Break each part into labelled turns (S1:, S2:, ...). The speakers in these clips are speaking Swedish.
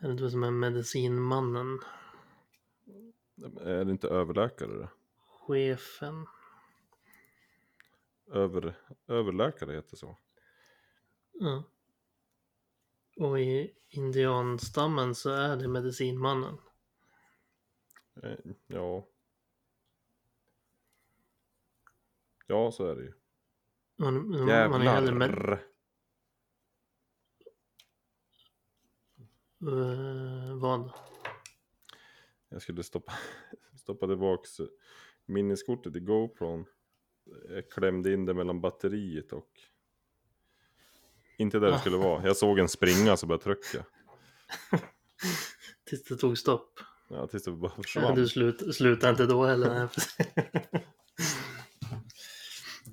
S1: Är det inte som en medicinmannen?
S2: Är det inte överläkare det?
S1: Chefen?
S2: Över, överläkare heter så.
S1: Ja. Och i indianstammen så är det medicinmannen.
S2: Eh, Ja. Ja, så är det ju.
S1: Man, man, man är hellre med,
S2: Jävlar.
S1: Eh, vad?
S2: Jag skulle stoppa, stoppa tillbaks minneskortet i GoPron. Jag klämde in det mellan batteriet och... Inte där det
S1: Ah.
S2: skulle vara. Jag såg en springa så började jag trycka.
S1: Tills det tog stopp.
S2: Ja, tills det bara
S1: Ja,
S2: försvann.
S1: du slut, slutar inte då heller.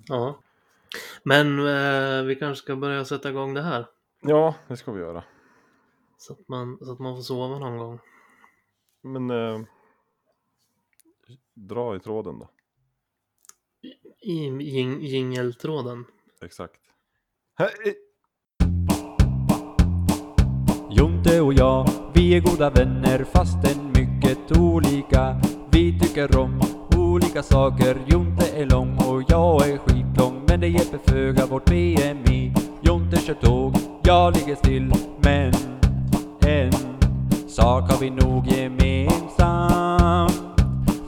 S1: ja. Men eh, vi kanske ska börja sätta igång det här.
S2: Ja, det ska vi göra.
S1: Så att man, så att man får sova någon gång.
S2: Men... Eh, dra i tråden då.
S1: I jing, jingeltråden.
S2: Exakt.
S3: Jonte och jag, vi är goda vänner fastän mycket olika. Vi tycker om olika saker. Jonte är lång och jag är skitlång. Men det hjälper föga vårt BMI. Jonte kör tåg, jag ligger still. Men en sak har vi nog gemensamt.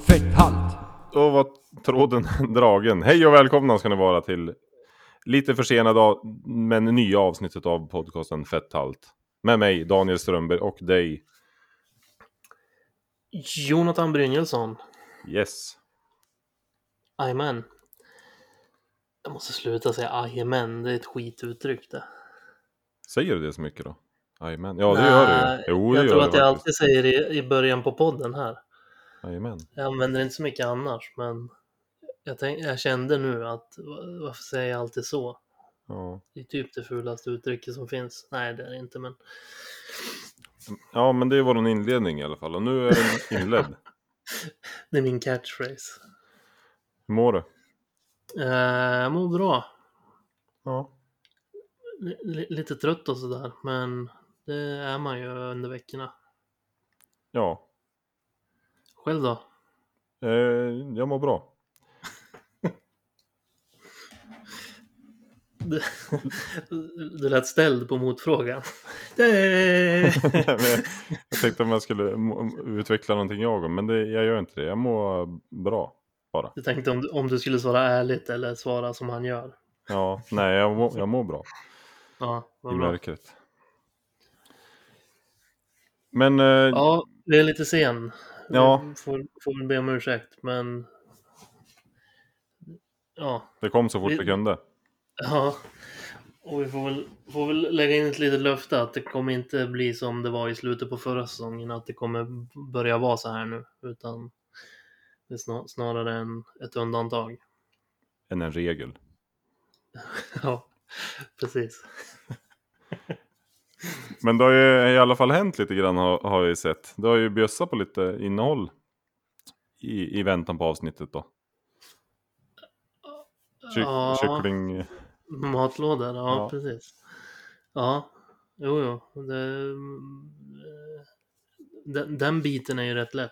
S3: Fetthalt!
S2: Då var tråden dragen. Hej och välkomna ska ni vara till lite försenade av, men nya avsnittet av podcasten Fetthalt. Med mig Daniel Strömberg och dig.
S1: Jonathan Brynjelsson.
S2: Yes.
S1: Amen. Jag måste sluta säga amen. Det är ett skituttryck det.
S2: Säger du det så mycket då? Jajamän. Ja, det gör du
S1: Nej,
S2: ju. Jo, det
S1: Jag
S2: gör
S1: tror
S2: du
S1: att jag
S2: faktiskt.
S1: alltid säger det i början på podden här.
S2: Jajamän.
S1: Jag använder inte så mycket annars, men jag, tänk, jag kände nu att va- varför säger jag alltid så?
S2: Ja.
S1: Det är typ det fulaste uttrycket som finns. Nej, det är det inte, men
S2: ja, men det var en inledning i alla fall. Och nu är den inledd.
S1: det är min catchphrase.
S2: Hur mår du?
S1: Eh, Jag mår bra.
S2: Ja.
S1: L- li- lite trött och sådär, men det är man ju under veckorna.
S2: Ja,
S1: Själv då?
S2: eh, jag mår bra.
S1: Du, du lät ställd på motfrågan. Det-
S2: Men jag- jag tänkte om jag skulle må- utveckla någonting jag om, men det, jag gör inte det. Jag mår bra bara.
S1: Jag tänkte om du, om du skulle svara ärligt eller svara som han gör.
S2: Ja, nej jag mår, jag mår bra
S1: Ja,
S2: i
S1: vad bra.
S2: mörkret. Men eh, ja.
S1: Ja, det är lite sen.
S2: Ja.
S1: Jag Får, får väl be om ursäkt, men... Ja.
S2: det kom så fort vi
S1: vi-
S2: kunde.
S1: ja. Och vi får väl, får väl lägga in ett litet löfte att det kommer inte bli som det var i slutet på förra säsongen, att det kommer börja vara så här nu, utan det är snar, snarare en, ett undantag.
S2: Än en regel.
S1: Ja, precis.
S2: Men det har ju i alla fall hänt lite grann har, har jag ju sett. Det har ju bjössa på lite innehåll i, i väntan på avsnittet då. Ky,
S1: Ja.
S2: Kyckling...
S1: Matlådor, ja,
S2: Ja.
S1: precis. Ja, jo, jo. Det, eh, den, den biten är ju rätt lätt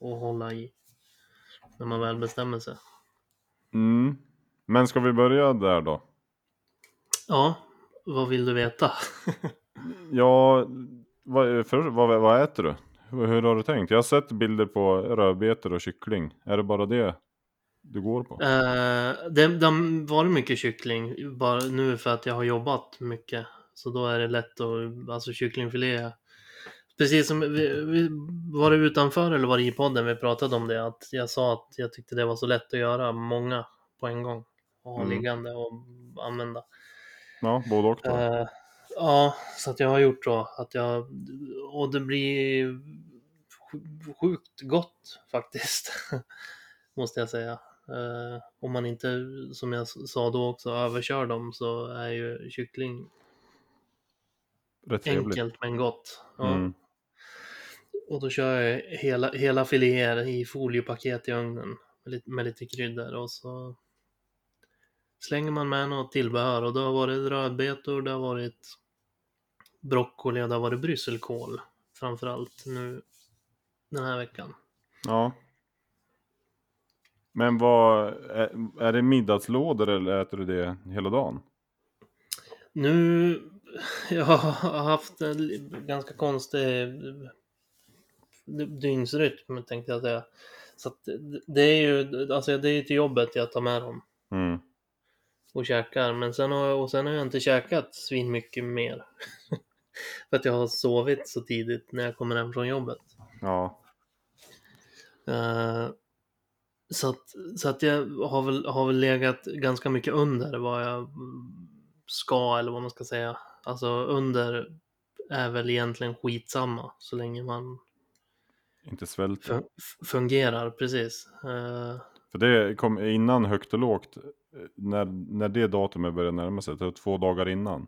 S1: att hålla i när man väl bestämmer sig.
S2: Mm. Men ska vi börja där då?
S1: Ja, vad vill du veta?
S2: Ja, vad, för, vad, vad äter du? Hur, hur har du tänkt? Jag har sett bilder på rödbetor och kyckling. Är det bara det du går på?
S1: Eh, det, det har varit mycket kyckling, bara nu för att jag har jobbat mycket. Så då är det lätt att, alltså kycklingfilé. Precis som, vi, vi, var det utanför eller var det i podden vi pratade om det? Att jag sa att jag tyckte det var så lätt att göra många på en gång. Och ha
S2: Mm.
S1: liggande och använda.
S2: Ja, både och då.
S1: Eh, ja, så att jag har gjort så. Att jag, och det blir sj- sjukt gott faktiskt. Måste jag säga. Eh, om man inte, som jag s- sa då också, överkör dem så är ju kyckling
S2: Rätt trevligt.
S1: enkelt men gott. Ja.
S2: Mm.
S1: Och då kör jag hela, hela filéer i foliepaket i ugnen med lite, med lite kryddor och så slänger man med något tillbehör och då har det varit rödbetor, det har varit broccoli och det har varit brysselkål framförallt nu den här veckan.
S2: Ja. Men vad, är, är det middagslådor eller äter du det hela dagen?
S1: Nu, jag har haft en li- ganska konstig eh, dygnsrytm tänkte jag säga. Så att det- det är ju, alltså det är ju till jobbet jag tar med dem
S2: Mm.
S1: och käkar. Men sen har jag, och sen har jag inte käkat svin mycket mer. För att jag har sovit så tidigt när jag kommer hem från jobbet.
S2: Ja.
S1: Eh, så att, så att jag har väl, har väl legat ganska mycket under vad jag mm, ska eller vad man ska säga. Alltså under är väl egentligen skitsamma så länge man
S2: Inte svälter.
S1: fun- f- fungerar, precis. Eh,
S2: För det kom innan högt och lågt. eh, När, när det datumet började närma sig. Det var två dagar innan.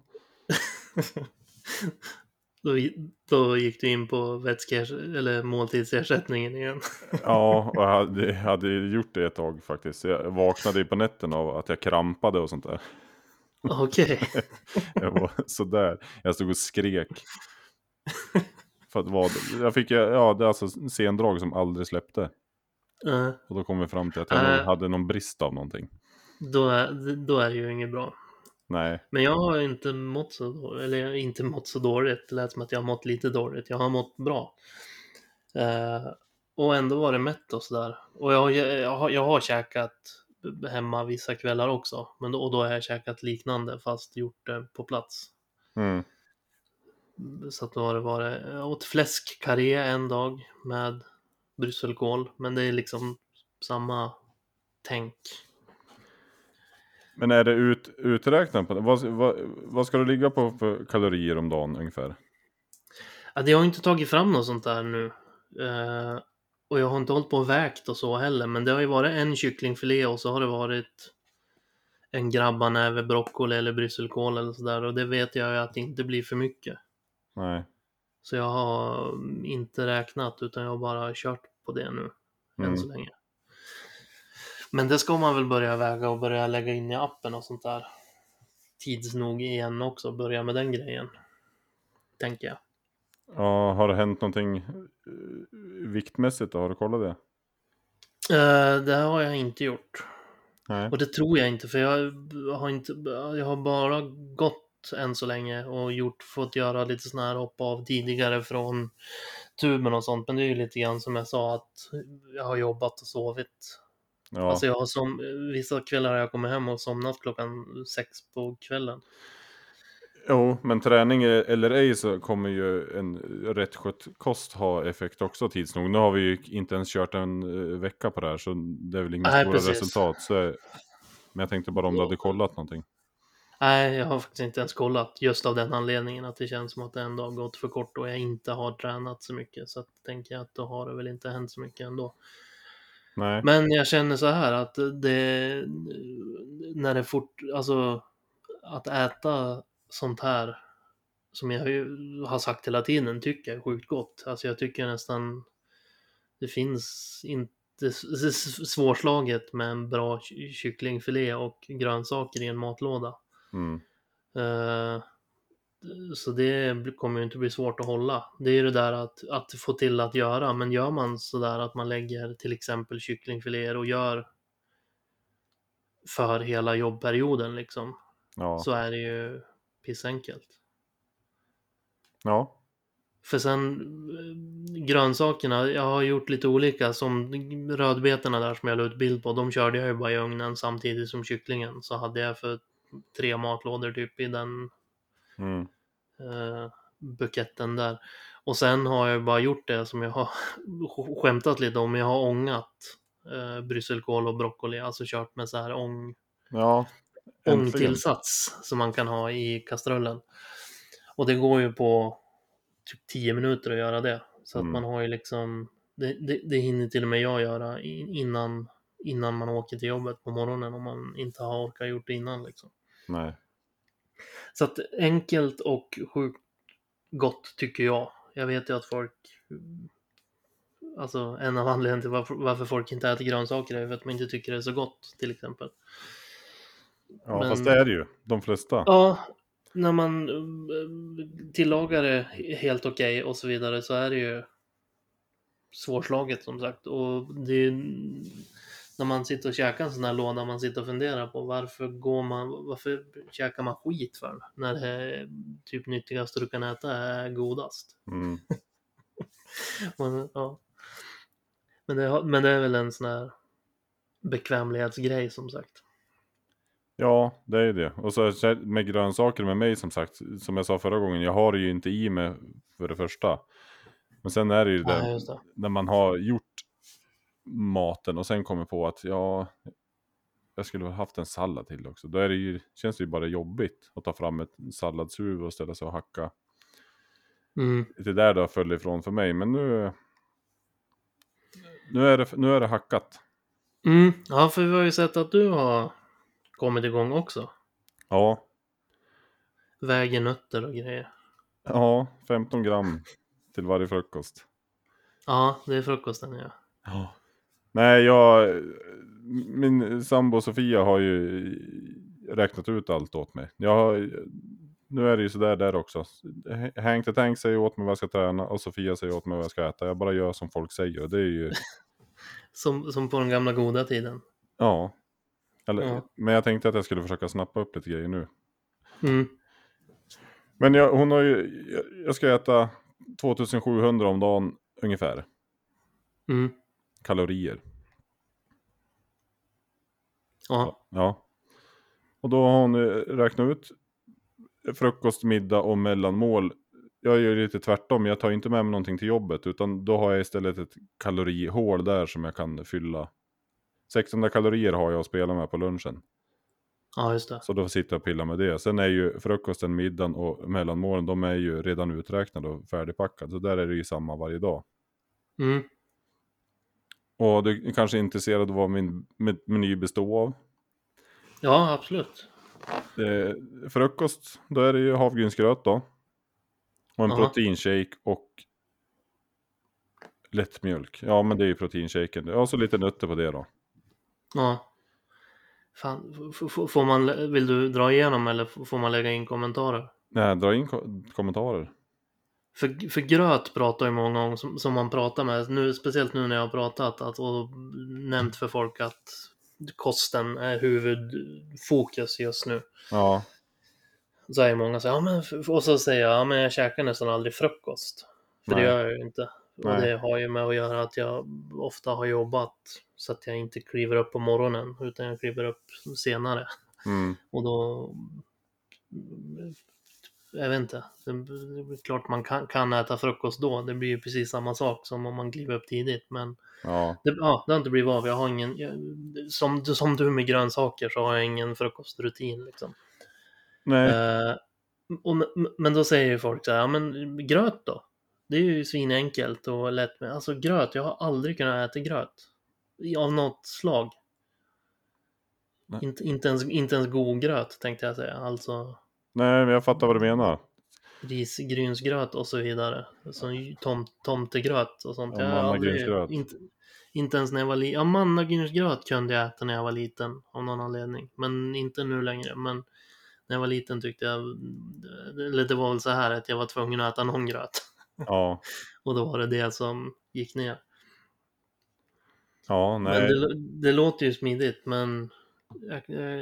S1: då, gi- då gick du in på vätskers- eller måltidsersättningen igen.
S2: Ja, och jag hade, jag hade ju gjort det ett tag faktiskt. Jag vaknade ju på nätterna av att jag krampade och sånt där.
S1: Okej,
S2: Jag var sådär. Jag stod och skrek. För att vad, jag fick ju- ja, det är alltså sendrag som aldrig släppte.
S1: Eh,
S2: Och då kom vi fram till att jag nog
S1: Äh.
S2: hade någon brist av någonting.
S1: då, är, då är det ju inget bra.
S2: Nej,
S1: Men jag har inte mått så dåligt, eller jag har inte mått så dåligt. Det lät som att jag har mått lite dåligt. Jag har mått bra. Eh, och ändå var det mätt och sådär. Och jag, har- jag, har, jag har käkat hemma vissa kvällar också. Men då, och då har jag käkat liknande fast gjort det på plats.
S2: mm.
S1: Så att då har det varit, jag åt fläskkarré en dag med brysselkål. Men det är liksom samma tänk.
S2: Men är det ut, uträknat på vad, vad, vad ska du ligga på för kalorier om dagen ungefär?
S1: Ja, det Alltså, har ju inte tagit fram något sånt där nu. Eh, och jag har inte hållit på och vägt och så heller, men det har ju varit en kycklingfilé och så har det varit en grabbarnäve broccoli eller brysselkål eller sådär och det vet jag ju att det inte blir för mycket.
S2: Nej.
S1: Så jag har inte räknat utan jag har bara kört på det nu
S2: Mm.
S1: än så länge. Men det ska man väl börja väga och börja lägga in i appen och sånt där. Tids nog igen också, börja med den grejen. Tänker jag.
S2: Ja, har det hänt någonting eh, viktmässigt då? Har du kollat det?
S1: Eh, det har jag inte gjort.
S2: Nej.
S1: Och det tror jag inte, för jag har, inte, jag har bara gått än så länge och gjort, fått göra lite sådana här hopp av tidigare från tuben och sånt. Men det är ju lite grann som jag sa att jag har jobbat och sovit.
S2: Ja.
S1: Alltså jag har som, vissa kvällar har jag kommit hem och somnat klockan sex på kvällen.
S2: Jo, men träning eller ej så kommer ju en rätt skött kost ha effekt också tids nog. Nu har vi ju inte ens kört en eh, vecka på det här så det är väl inga
S1: Nej,
S2: stora
S1: precis.
S2: resultat. Så, men jag tänkte bara om du hade kollat någonting.
S1: Nej, jag har faktiskt inte ens kollat just av den anledningen att det känns som att det ändå har gått för kort och jag inte har tränat så mycket. Så att, tänker jag att då har det väl inte hänt så mycket ändå.
S2: Nej,
S1: Men jag känner så här att det, när det fort, alltså att äta sånt här som jag ju har sagt hela tiden tycker jag är sjukt gott. Alltså jag tycker nästan det finns inte det är svårslaget med en bra ky- kycklingfilé och grönsaker i en matlåda.
S2: mm.
S1: Eh, Så det kommer ju inte bli svårt att hålla. Det är ju det där att, att få till att göra. Men gör man sådär att man lägger till exempel kycklingfiléer och gör för hela jobbperioden liksom.
S2: ja.
S1: Så är det ju pissenkelt.
S2: ja.
S1: För sen eh, grönsakerna, jag har gjort lite olika. Som rödbetorna där som jag la ut bild på. De körde jag ju bara i ugnen samtidigt som kycklingen. Så hade jag för tre matlådor typ i den
S2: Mm.
S1: eh, buketten där. Och sen har jag bara gjort det som jag har sk- skämtat lite om. Jag har ångat eh, brysselkål och broccoli, alltså kört med så här ång,
S2: ja. Äntligen.
S1: ångtillsats som man kan ha i kastrullen. Och det går ju på typ 10 minuter att göra det. Så att
S2: Mm.
S1: man har ju liksom, det, det, det hinner till och med jag göra i- innan, innan man åker till jobbet på morgonen om man inte har orkat gjort det innan liksom.
S2: Nej.
S1: Så att enkelt och sjukt gott tycker jag. Jag vet ju att folk, alltså en av anledningarna till varför, varför folk inte äter grönsaker är för att man inte tycker det är så gott till exempel.
S2: Ja,
S1: Men-
S2: fast det är det ju. De flesta.
S1: Ja, när man eh, tillagar det helt okej och så vidare så är det ju svårslaget som sagt. Och det är, när man sitter och käkar en sån här låda, man sitter och funderar på varför går man, varför käkar man skit för? När det typ nyttigaste du kan äta är godast.
S2: Mm.
S1: Men, ja. men, det, har- men det är väl en sån här bekvämlighetsgrej som sagt.
S2: Ja, det är ju det. Och så så här med grönsaker med mig som sagt, som jag sa förra gången, jag har det ju inte i mig för det första. Men sen är det ju
S1: Ja,
S2: det,
S1: just det.
S2: när man har gjort maten och sen kommer på att ja, jag skulle ha haft en sallad till också. Då är det ju, känns det ju bara jobbigt att ta fram ett salladshuvud och ställa sig och hacka.
S1: Mm.
S2: Det är där det har föll ifrån för mig, men nu, nu, är, det, nu är det hackat.
S1: Mm. Ja, för vi har ju sett att du har kommit igång också.
S2: Ja,
S1: Väger nötter och grejer.
S2: ja 15 gram till varje frukost.
S1: Ja, det är frukosten ja.
S2: Nej, jag... Min sambo Sofia har ju räknat ut allt åt mig. Jag har, nu är det ju sådär där också. Hank the Tank säger åt mig vad jag ska träna och Sofia säger åt mig vad jag ska äta. Jag bara gör som folk säger. Det är ju...
S1: Som, som på den gamla goda tiden.
S2: Ja. Eller,
S1: Ja.
S2: Men jag tänkte att jag skulle försöka snappa upp lite grejer nu.
S1: Mm.
S2: Men jag, hon har ju... jag- Jag ska äta 2700 om dagen ungefär.
S1: Mm.
S2: Kalorier.
S1: Ja.
S2: Ja. Och då har hon eh, räknat ut frukost, middag och mellanmål. Jag gör lite tvärtom, jag tar inte med mig någonting till jobbet utan då har jag istället ett kalorihål där som jag kan fylla. 600 kalorier har jag att spela med på lunchen.
S1: ja, just det.
S2: Så då sitter jag och pillar med det. Sen är ju frukosten, middagen och mellanmålen, de är ju redan uträknade och färdigpackade. Så där är det ju samma varje dag.
S1: Mm.
S2: Och du är kanske är intresserad av vad min min meny består av?
S1: Ja, absolut.
S2: Eh, frukost, då är det ju havregrynsgröt då. Och en
S1: Aha.
S2: proteinshake och lättmjölk. Ja, men det är ju proteinshaken. Ja, så lite nötter på det då.
S1: Ja. Fan, f- f- får man, lä- vill du dra igenom eller f- får man lägga in kommentarer?
S2: Nej, dra in ko- kommentarer.
S1: För, för gröt pratar ju många om som, som man pratar med, nu, speciellt nu när jag har pratat att, och nämnt för folk att kosten är huvudfokus just nu.
S2: Ja,
S1: Så är många så här, ja, men, f- och så säger jag, ja men jag käkar nästan aldrig frukost. För
S2: Nej.
S1: det gör jag ju inte. Och
S2: Nej.
S1: det har ju med att göra att jag ofta har jobbat så att jag inte kliver upp på morgonen utan jag kliver upp senare.
S2: mm,
S1: Och då... Jag vet inte. Det är klart man kan, kan äta frukost då. Det blir ju precis samma sak som om man kliver upp tidigt. Men
S2: ja,
S1: det, ja, det har inte blivit av. Jag har ingen... Jag, som, som du med grönsaker så har jag ingen frukostrutin liksom.
S2: nej,
S1: Eh, och, men- men då säger ju folk så här, ja men gröt då? Det är ju svinenkelt och lätt med. Alltså gröt, jag har aldrig kunnat äta gröt. I- Av något slag.
S2: Nej.
S1: Inte, inte, ens, inte ens god gröt tänkte jag säga. Alltså
S2: nej, men jag fattar vad du menar.
S1: risgrynsgröt och så vidare. Som ju tom, tomtegröt och sånt.
S2: Ja,
S1: Jag har aldrig-
S2: mannagrynsgröt.
S1: Inte, inte ens när jag var liten. Ja, mannagrynsgröt kunde jag äta när jag var liten av någon anledning. Men inte nu längre. Men när jag var liten tyckte jag, eller det var väl så här att jag var tvungen att äta någon gröt.
S2: Ja,
S1: Och då var det det som gick ner.
S2: ja,
S1: Men
S2: nej,
S1: det, det låter ju smidigt men jag, jag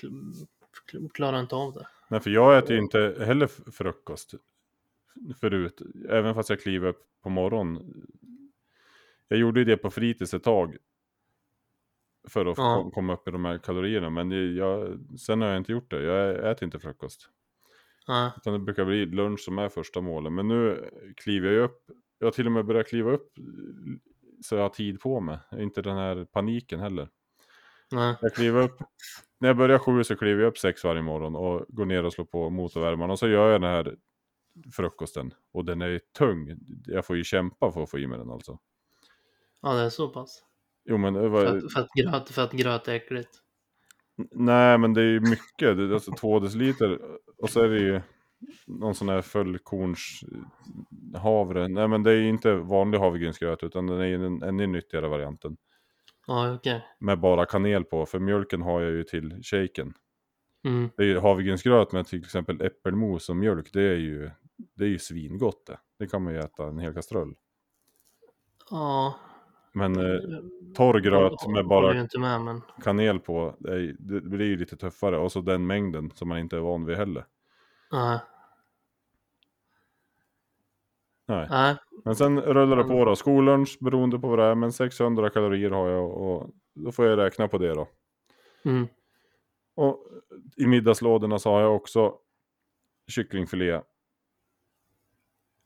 S1: kl- kl- klarar inte av det.
S2: nej, för jag äter ju inte heller f- frukost förut. Även fast jag kliver upp på morgonen. Jag gjorde ju det på fritids ett tag. För att
S1: Ja.
S2: kom- komma upp i de här kalorierna. Men det- jag, sen har jag inte gjort det. Jag äter inte frukost.
S1: Ja,
S2: Utan det brukar bli lunch som är första målet. Men nu kliver jag ju upp. Jag har till och med börjat kliva upp. Så jag har tid på mig. Inte den här paniken heller.
S1: nej.
S2: Jag kliver upp. När jag börjar sju så kliver jag upp sex varje morgon. Och går ner och slår på motorvärmaren. Och så gör jag den här frukosten. Och den är ju tung. Jag får ju kämpa för att få i mig den alltså.
S1: ja det är så pass.
S2: Jo men eh, det var...
S1: För att, för att, gröt, för att gröt är äckligt.
S2: Nej, men det är ju mycket. Det är alltså två deciliter. Och så är det ju någon sån här fullkorns havre. Nej, men det är ju inte vanlig havregrynsgröt utan den är ju den ännu nyttigare varianten.
S1: Ja okej.
S2: Med bara kanel på, för mjölken har jag ju till shaken.
S1: Mm.
S2: Det är ju havregrynsgröt med till exempel äppelmos och mjölk. Det är ju, det är ju svingott det. Det kan man ju äta en hel kastrull.
S1: Ja.
S2: Men eh, torr gröt med
S1: Håller ju
S2: bara
S1: inte med men.
S2: kanel på, det, är, ju- det blir ju lite tuffare. Och så den mängden som man inte är van vid heller.
S1: Nej.
S2: Nej.
S1: Nej.
S2: Men sen rullar det på då. Skollunch beroende på vad det är. Men 600 kalorier har jag och då får jag räkna på det då.
S1: Mm.
S2: Och i middagslådorna så har jag också kycklingfilé.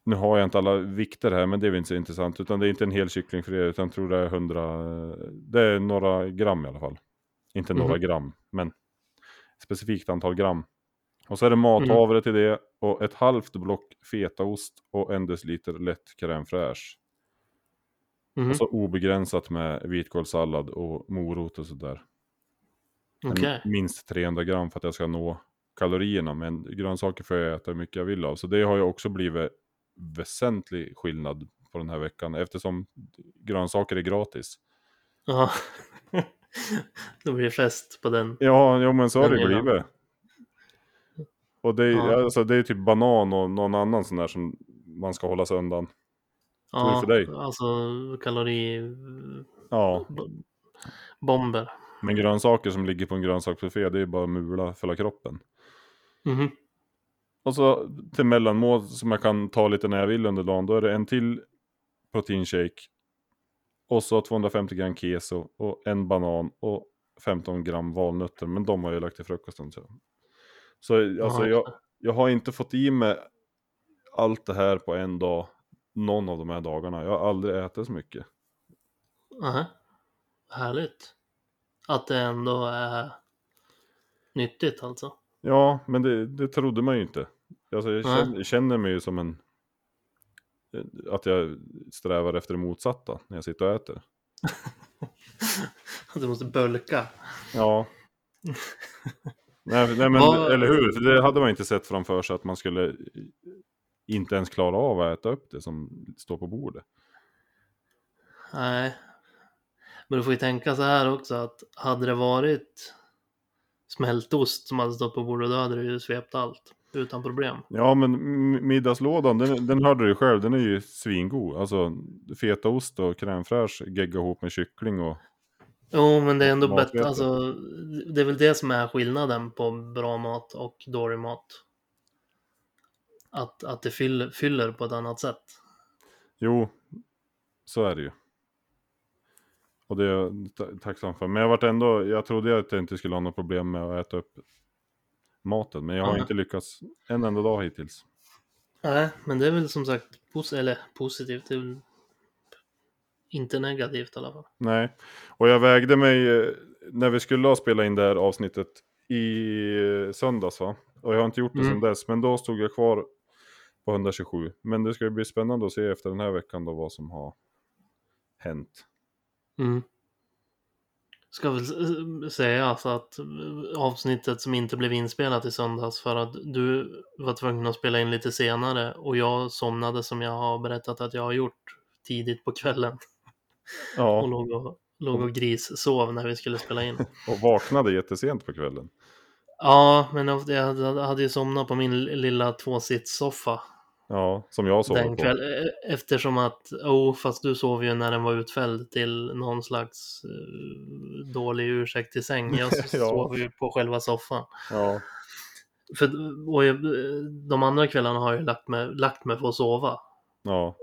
S2: Nu har jag inte alla vikter här, men det är väl inte så intressant. Utan det är inte en hel kycklingfilé, utan jag tror det är 100... Det är några gram i alla fall. Inte några
S1: Mhm.
S2: gram, men ett specifikt antal gram. Och så är det mathavre
S1: Mm.
S2: till det och ett halvt block fetaost och en deciliter lätt crème fraîche.
S1: Mhm.
S2: Och så obegränsat med vitkålssallad och morot och sådär. Men
S1: Okej.
S2: Minst 300 gram för att jag ska nå kalorierna. Men grönsaker får jag äta hur mycket jag vill av. Så det har ju också blivit väsentlig skillnad på den här veckan. Eftersom grönsaker är gratis.
S1: Ja. Då blir det fest på den.
S2: Ja, jo, men så har
S1: Den
S2: det ju
S1: gillar jag.
S2: blivit. Och det är,
S1: Ja.
S2: alltså, det är typ banan och någon annan sån där som man ska hålla sig undan. Tur
S1: Ja,
S2: för dig.
S1: alltså kalori...
S2: Ja,
S1: b- Bomber.
S2: men grönsaker som ligger på en grönsaksbuffé, det är ju bara mula för hela kroppen.
S1: Mhm.
S2: Och så till mellanmål som jag kan ta lite när jag vill under dagen. Då är det en till proteinshake. Och så 250 gram keso och en banan och 15 gram valnötter. Men de har jag lagt till frukosten. Så, så alltså,
S1: Jaha.
S2: jag, jag har inte fått i mig allt det här på en dag. Någon av de här dagarna. Jag har aldrig ätit så mycket.
S1: Aha. Härligt. Att det ändå är nyttigt alltså.
S2: Ja, men det, det trodde man ju inte. Alltså, jag
S1: Nej.
S2: känner, känner mig ju som en... eh, Att jag strävar efter det motsatta när jag sitter och äter.
S1: Att du måste bölka.
S2: Ja. nej, nej men
S1: Vad-
S2: eller hur, För det hade man inte sett framför sig att man skulle eh, inte ens klara av att äta upp det som står på bordet.
S1: Nej. Men du får ju tänka så här också att hade det varit smältost som hade stått på bordet då hade du ju svept allt utan problem.
S2: Ja men m- middagslådan, den, den hörde du själv, den är ju svingod. Alltså fetaost och crème fraîche gegga ihop med kyckling och
S1: Jo, men det är ändå
S2: Matvete.
S1: bättre. Alltså, det är väl det som är skillnaden på bra mat och dålig mat. Att, att det fyller, fyller på ett annat sätt.
S2: jo, så är det ju. Och det är jag ta- tacksam för. Men jag vart ändå, jag trodde att jag inte skulle ha något problem med att äta upp maten. Men jag har
S1: Nej.
S2: inte lyckats en enda dag hittills.
S1: Nej, men det är väl som sagt pos- eller, positivt. Det är väl inte negativt i alla fall.
S2: Nej, och jag vägde mig eh, när vi skulle ha spelat in det här avsnittet i eh, söndags va? Och jag har inte gjort det
S1: Mm.
S2: sedan dess, men då stod jag kvar på 127. Men det ska ju bli spännande att se efter den här veckan då vad som har hänt.
S1: Mm. Ska väl s- säga alltså att eh, avsnittet som inte blev inspelat i söndags för att du var tvungen att spela in lite senare och jag somnade som jag har berättat att jag har gjort tidigt på kvällen och
S2: Ja,
S1: låg och, låg och grissov när vi skulle spela in.
S2: och vaknade jättesent på kvällen.
S1: Ja, men jag jag hade, hade ju somnat på min lilla tvåsitssoffa
S2: Ja, som jag sov
S1: den
S2: på.
S1: kväll, e- eftersom att, oh, fast du sov ju när den var utfälld till någon slags eh, dålig ursäkt till säng. Jag
S2: Ja.
S1: sov ju på själva soffan.
S2: Ja,
S1: För, och jag, de andra kvällarna har jag lagt mig, lagt mig för att sova.
S2: ja,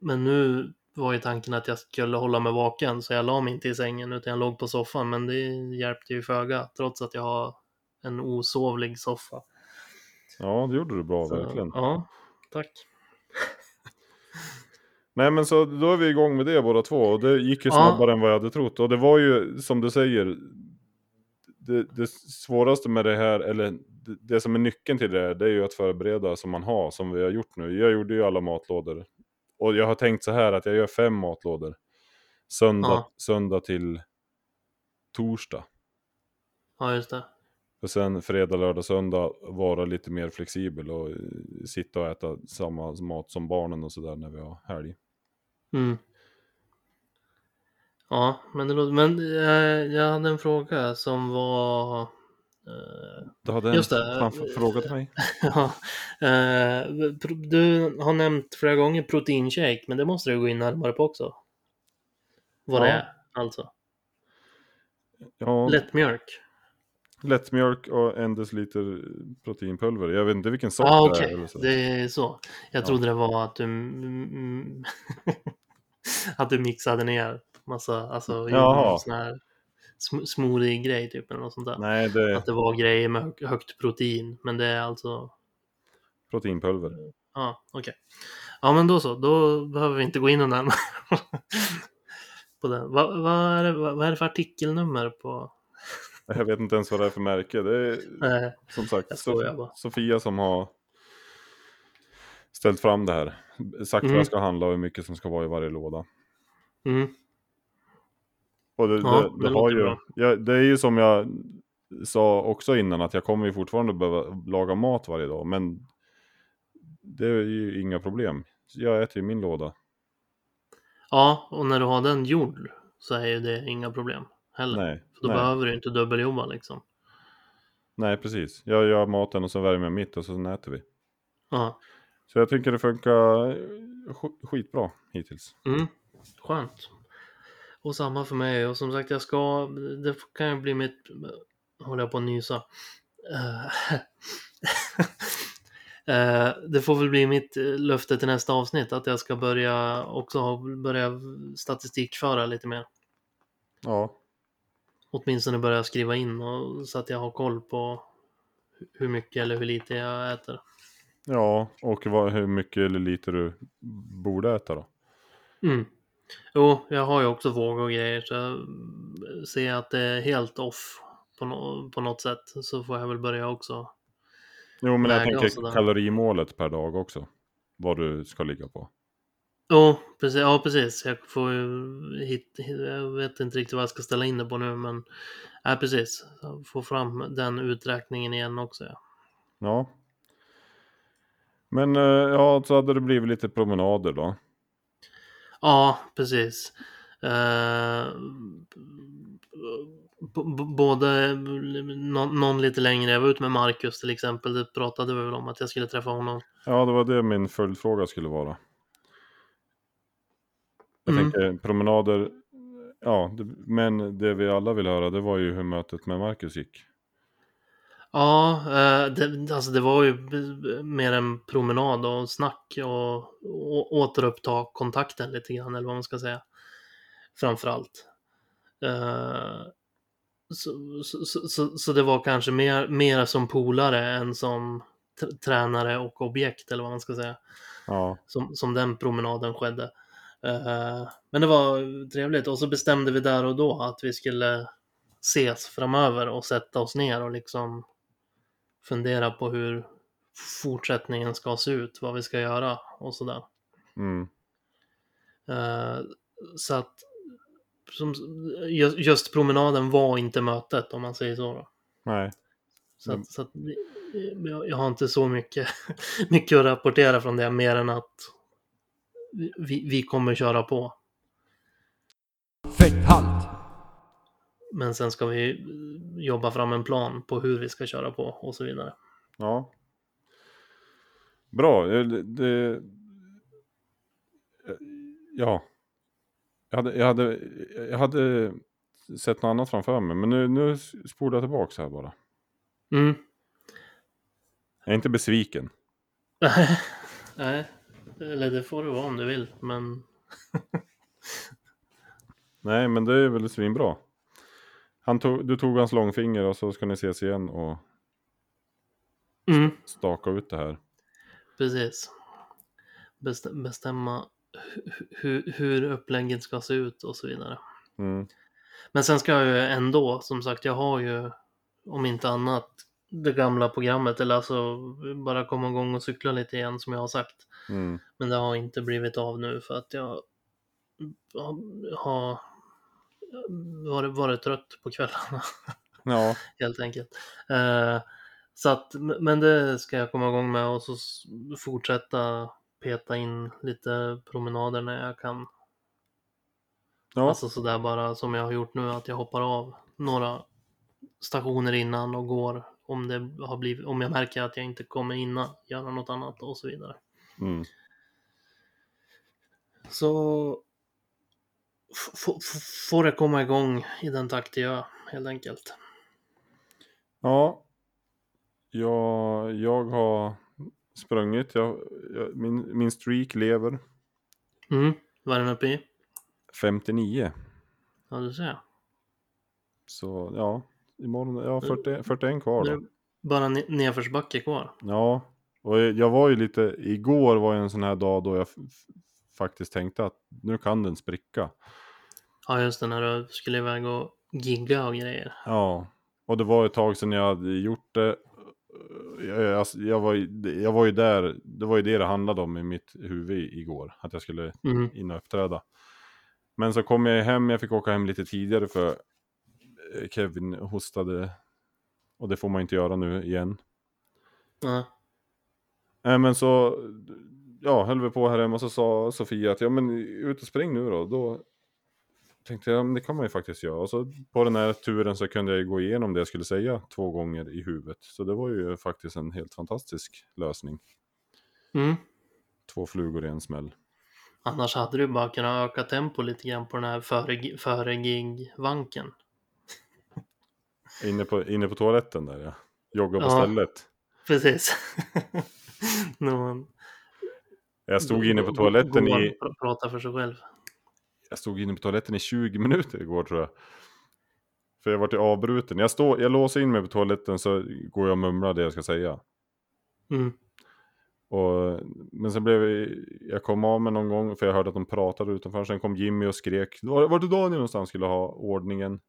S1: Men nu var ju tanken att jag skulle hålla mig vaken, så jag la mig inte i sängen utan jag låg på soffan. Men det hjälpte ju föga, trots att jag har en osovlig soffa.
S2: ja, det gjorde du bra
S1: Så,
S2: verkligen.
S1: Ja, tack.
S2: Nej men så då är vi igång med det båda två och det gick ju
S1: Ja.
S2: snabbare än vad jag hade trott och det var ju som du säger det, det svåraste med det här eller det, det som är nyckeln till det här det är ju att förbereda som man har som vi har gjort nu. Jag gjorde ju alla matlådor och jag har tänkt så här att jag gör fem matlådor söndag,
S1: Ja.
S2: söndag till torsdag
S1: Ja, just det.
S2: och sen fredag, lördag, söndag vara lite mer flexibel och eh, sitta och äta samma mat som barnen och sådär när vi har helg.
S1: Mm. Ja, men det låter... Men eh, jag hade en fråga som var Eh,
S2: Du hade en
S1: Just det.
S2: framför- fråga till mig.
S1: ja. Eh, pro- du har nämnt flera gånger proteinshake, men det måste du gå in närmare på också. Vad det
S2: Ja.
S1: är, alltså.
S2: Ja,
S1: Lättmjölk.
S2: lättmjölk och en deciliter proteinpulver. Jag vet inte vilken sort
S1: Ja, ah, okej.
S2: eh, eller så.
S1: Det är så. Jag
S2: Ja.
S1: trodde det var att du... mm, mm, att du mixade ner massa, alltså gjorde
S2: Jaha.
S1: någon sån här sm- smoothie-grej typ eller något sånt där.
S2: Nej, det är
S1: Att det var grejer med hö- högt protein, men det är alltså...
S2: proteinpulver.
S1: Ja, okej. Ja, men då så. Då behöver vi inte gå in och närmare på den. Vad vad är, det- vad vad är det för artikelnummer på... eh,
S2: Jag vet inte ens vad det är för märke. Det är
S1: Nej,
S2: som sagt
S1: jag
S2: Sof-
S1: skojar bara.
S2: Sofia som har ställt fram det här. Sagt vad
S1: Mm.
S2: jag ska handla och hur mycket som ska vara i varje låda.
S1: Mm,
S2: Och det,
S1: Ja,
S2: det,
S1: det
S2: det, har
S1: låter
S2: ju,
S1: bra.
S2: ja, det är ju som jag sa också innan att jag kommer ju fortfarande behöva laga mat varje dag. Men det är ju inga problem. Jag äter ju min låda.
S1: ja, och när du har den gjord så är ju det inga problem heller.
S2: Nej,
S1: För Mm. då
S2: nej.
S1: behöver du inte dubbeljobba liksom.
S2: nej, precis. Jag gör maten och så värmer jag mitt och så äter vi.
S1: Ja.
S2: Så jag tycker det funkar sk- skitbra hittills.
S1: Mm. Skönt. Och samma för mig. Och som sagt, jag ska... Det kan ju bli mitt... Håller jag på att nysa. Eh, eh, det får väl bli mitt eh, löfte till nästa avsnitt att jag ska börja också ha- börja statistikföra lite mer.
S2: Ja,
S1: Åtminstone börja skriva in och, så att jag har koll på hu- hur mycket eller hur lite jag äter.
S2: ja och vad, hur mycket eller lite du borde äta då.
S1: Mm. Jo, jag har ju också våg och grejer så jag mm, ser jag att det är helt off på, nå- på något sätt så får jag väl börja också.
S2: Jo, men
S1: Väga
S2: jag
S1: och
S2: tänker
S1: sådär.
S2: kalorimålet per dag också. Vad du ska ligga på.
S1: Jo, precis, ja precis. Jag får ju hit, hit- jag vet inte riktigt vad jag ska ställa in det på nu men ja, precis. Jag får fram den uträkningen igen också. Ja.
S2: Ja. Men eh, ja, så hade det blivit lite promenader då.
S1: Ja, precis. Eh, b- b- både någon, någon lite längre. Jag var ute med Marcus till exempel. Det pratade vi väl om att jag skulle träffa honom.
S2: Ja, det var det min följdfråga skulle vara. Jag
S1: Mm.
S2: tänker promenader, ja, det, men det vi alla vill höra det var ju hur mötet med Marcus gick.
S1: Ja, eh, det, alltså det var ju b- b- mer en promenad och snack och, å- återuppta kontakten lite grann eller vad man ska säga. Framför allt. Eh, Så, så, så, så, så det var kanske mer, mer som polare än som tr- tränare och objekt eller vad man ska säga.
S2: Ja,
S1: Som, som den promenaden skedde. Eh, Men det var trevligt och så bestämde vi där och då att vi skulle ses framöver och sätta oss ner och liksom fundera på hur fortsättningen ska se ut, vad vi ska göra och sådär.
S2: mm,
S1: Eh, Så att som, ju- just promenaden var inte mötet om man säger så. Då.
S2: nej,
S1: Så,
S2: Mm.
S1: att, så att, jag, jag har inte så mycket, mycket att rapportera från det mer än att vi, vi kommer köra på.
S3: Fetthalt!
S1: Men sen ska vi eh, jobba fram en plan på hur vi ska köra på och så vidare.
S2: ja. Bra, eh, det, det ja. Jag hade, jag hade, jag hade sett något annat framför mig, men nu, nu spolar jag tillbaka här bara.
S1: Mm.
S2: Jag är inte besviken.
S1: Nej, eller det får du vara om du vill, men
S2: Nej, men det är väl svinbra. Han tog, du tog hans långfinger och så ska ni ses igen och
S1: mm.
S2: staka ut det här.
S1: precis. Best- bestämma hu- hu- hur upplägget ska se ut och så vidare.
S2: Mm.
S1: Men sen ska jag ju ändå, som sagt, jag har ju om inte annat det gamla programmet eller alltså bara komma igång och cykla lite igen som jag har sagt.
S2: Mm.
S1: Men det har inte blivit av nu för att jag har varit, varit trött på kvällarna
S2: Ja,
S1: helt enkelt. Eh, så att, men det ska jag komma igång med och så s- fortsätta peta in lite promenader när jag kan.
S2: ja,
S1: Alltså sådär bara som jag har gjort nu att jag hoppar av några stationer innan och går om, det har blivit, om jag märker att jag inte kommer innan, göra något annat och så vidare.
S2: Mm.
S1: Så f- f- f- får det komma igång i den takt det gör helt enkelt.
S2: Ja. Jag, jag har sprungit. Jag, jag, min, min streak lever.
S1: Mm. Vad är den uppe i?
S2: 59.
S1: Ja, du ser.
S2: Så ja, imorgon, ja 40, 41 kvar
S1: Nu är
S2: då.
S1: det bara ne- nedförsbacke kvar.
S2: Ja, och jag var ju lite, igår var ju en sån här dag då jag f- f- faktiskt tänkte att nu kan den spricka.
S1: Ja, just det, när du skulle iväg och gigga och grejer.
S2: Ja, och det var ett tag sedan jag hade gjort det. Jag, alltså, jag, var, ju- jag var ju där, det var ju det det handlade om i mitt huvud igår, att jag skulle
S1: Mm.
S2: in och uppträda. Men så kom jag hem, jag fick åka hem lite tidigare för eh, Kevin hostade, och det får man inte göra nu igen.
S1: Ja.
S2: Nej Eh, men så, ja höll vi på här hemma och så sa Sofia att ja men ut och spring nu då. Då tänkte jag, men det kan man ju faktiskt göra. Och så på den här turen så kunde jag ju gå igenom det jag skulle säga två gånger i huvudet. Så det var ju faktiskt en helt fantastisk lösning.
S1: Mm.
S2: Två flugor i en smäll.
S1: Annars hade du bara kunnat öka tempo lite grann på den här före, före gig-vanken.
S2: Inne på, inne på toaletten där ja. Jogga på
S1: Ja.
S2: stället.
S1: Precis. När man
S2: Jag stod inne på
S1: går-
S2: toaletten
S1: går
S2: i,
S1: och pr- Pratar för sig själv.
S2: jag stod inne på toaletten i 20 minuter igår tror jag. För jag vart ju avbruten. Jag, står, jag låser in mig på toaletten så går jag och mumlar det jag ska säga.
S1: Mm.
S2: Och, men sen blev jag, jag kom av mig någon gång för jag hörde att de pratade utanför. Sen kom Jimmy och skrek. Var, vart är Daniel någonstans skulle ha ordningen?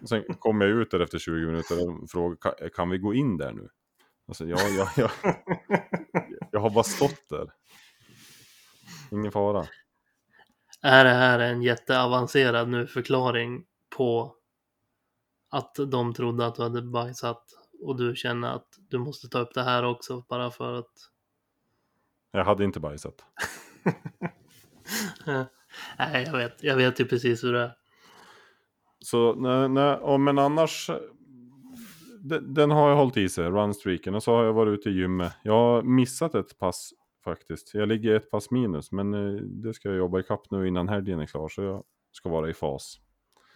S2: Och sen kom jag ut där efter 20 minuter och frågade kan, kan vi gå in där nu? Alltså ja, ja, ja. Jag har bara stått där. Ingen fara.
S1: Är det här en jätteavancerad nu förklaring på att de trodde att du hade bajsat och du känner att du måste ta upp det här också bara för att...
S2: Jag hade inte bajsat.
S1: Nej, jag vet. Jag vet ju precis hur det är.
S2: Så nej, nej, och, men annars. Den, den har jag hållit i sig, runstreaken. Och så har jag varit ute i gymmet. Jag har missat ett pass faktiskt. Jag ligger ett pass minus, men eh, det ska jag jobba ikapp nu innan helgen är klar. Så jag ska vara i fas.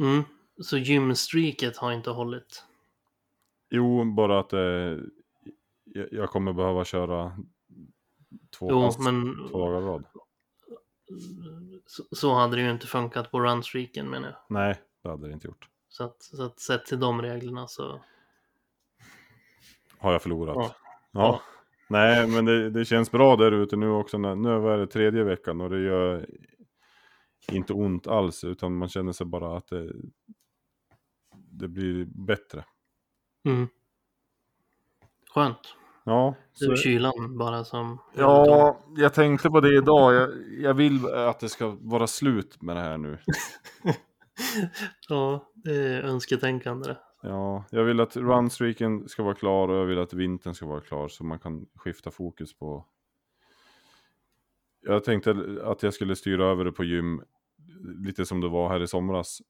S1: Mm. Så gymstreaket har inte hållit.
S2: Jo, bara att eh, jag- jag kommer behöva köra två
S1: Jo,
S2: pass
S1: men
S2: två dagar i rad.
S1: så, så hade det ju inte funkat på runstreaken menar jag.
S2: Nej, det hade det inte gjort.
S1: Så att, så att sett till de reglerna så...
S2: Har jag förlorat.
S1: Ja.
S2: Ja.
S1: Ja.
S2: Nej, men det, det känns bra där ute nu också. När, nu är det tredje veckan och det gör inte ont alls. Utan man känner sig bara att det, det blir bättre.
S1: Mm. Skönt.
S2: Ja,
S1: Det var
S2: så,
S1: kylan bara som...
S2: ja, jag tänkte på det idag. Jag, jag vill att det ska vara slut med det här nu.
S1: Ja, det är önsketänkande det.
S2: Ja, jag vill att runstreaken ska vara klar och jag vill att vintern ska vara klar så man kan skifta fokus på... Jag tänkte att jag skulle styra över det på gym, lite som det var här i somras.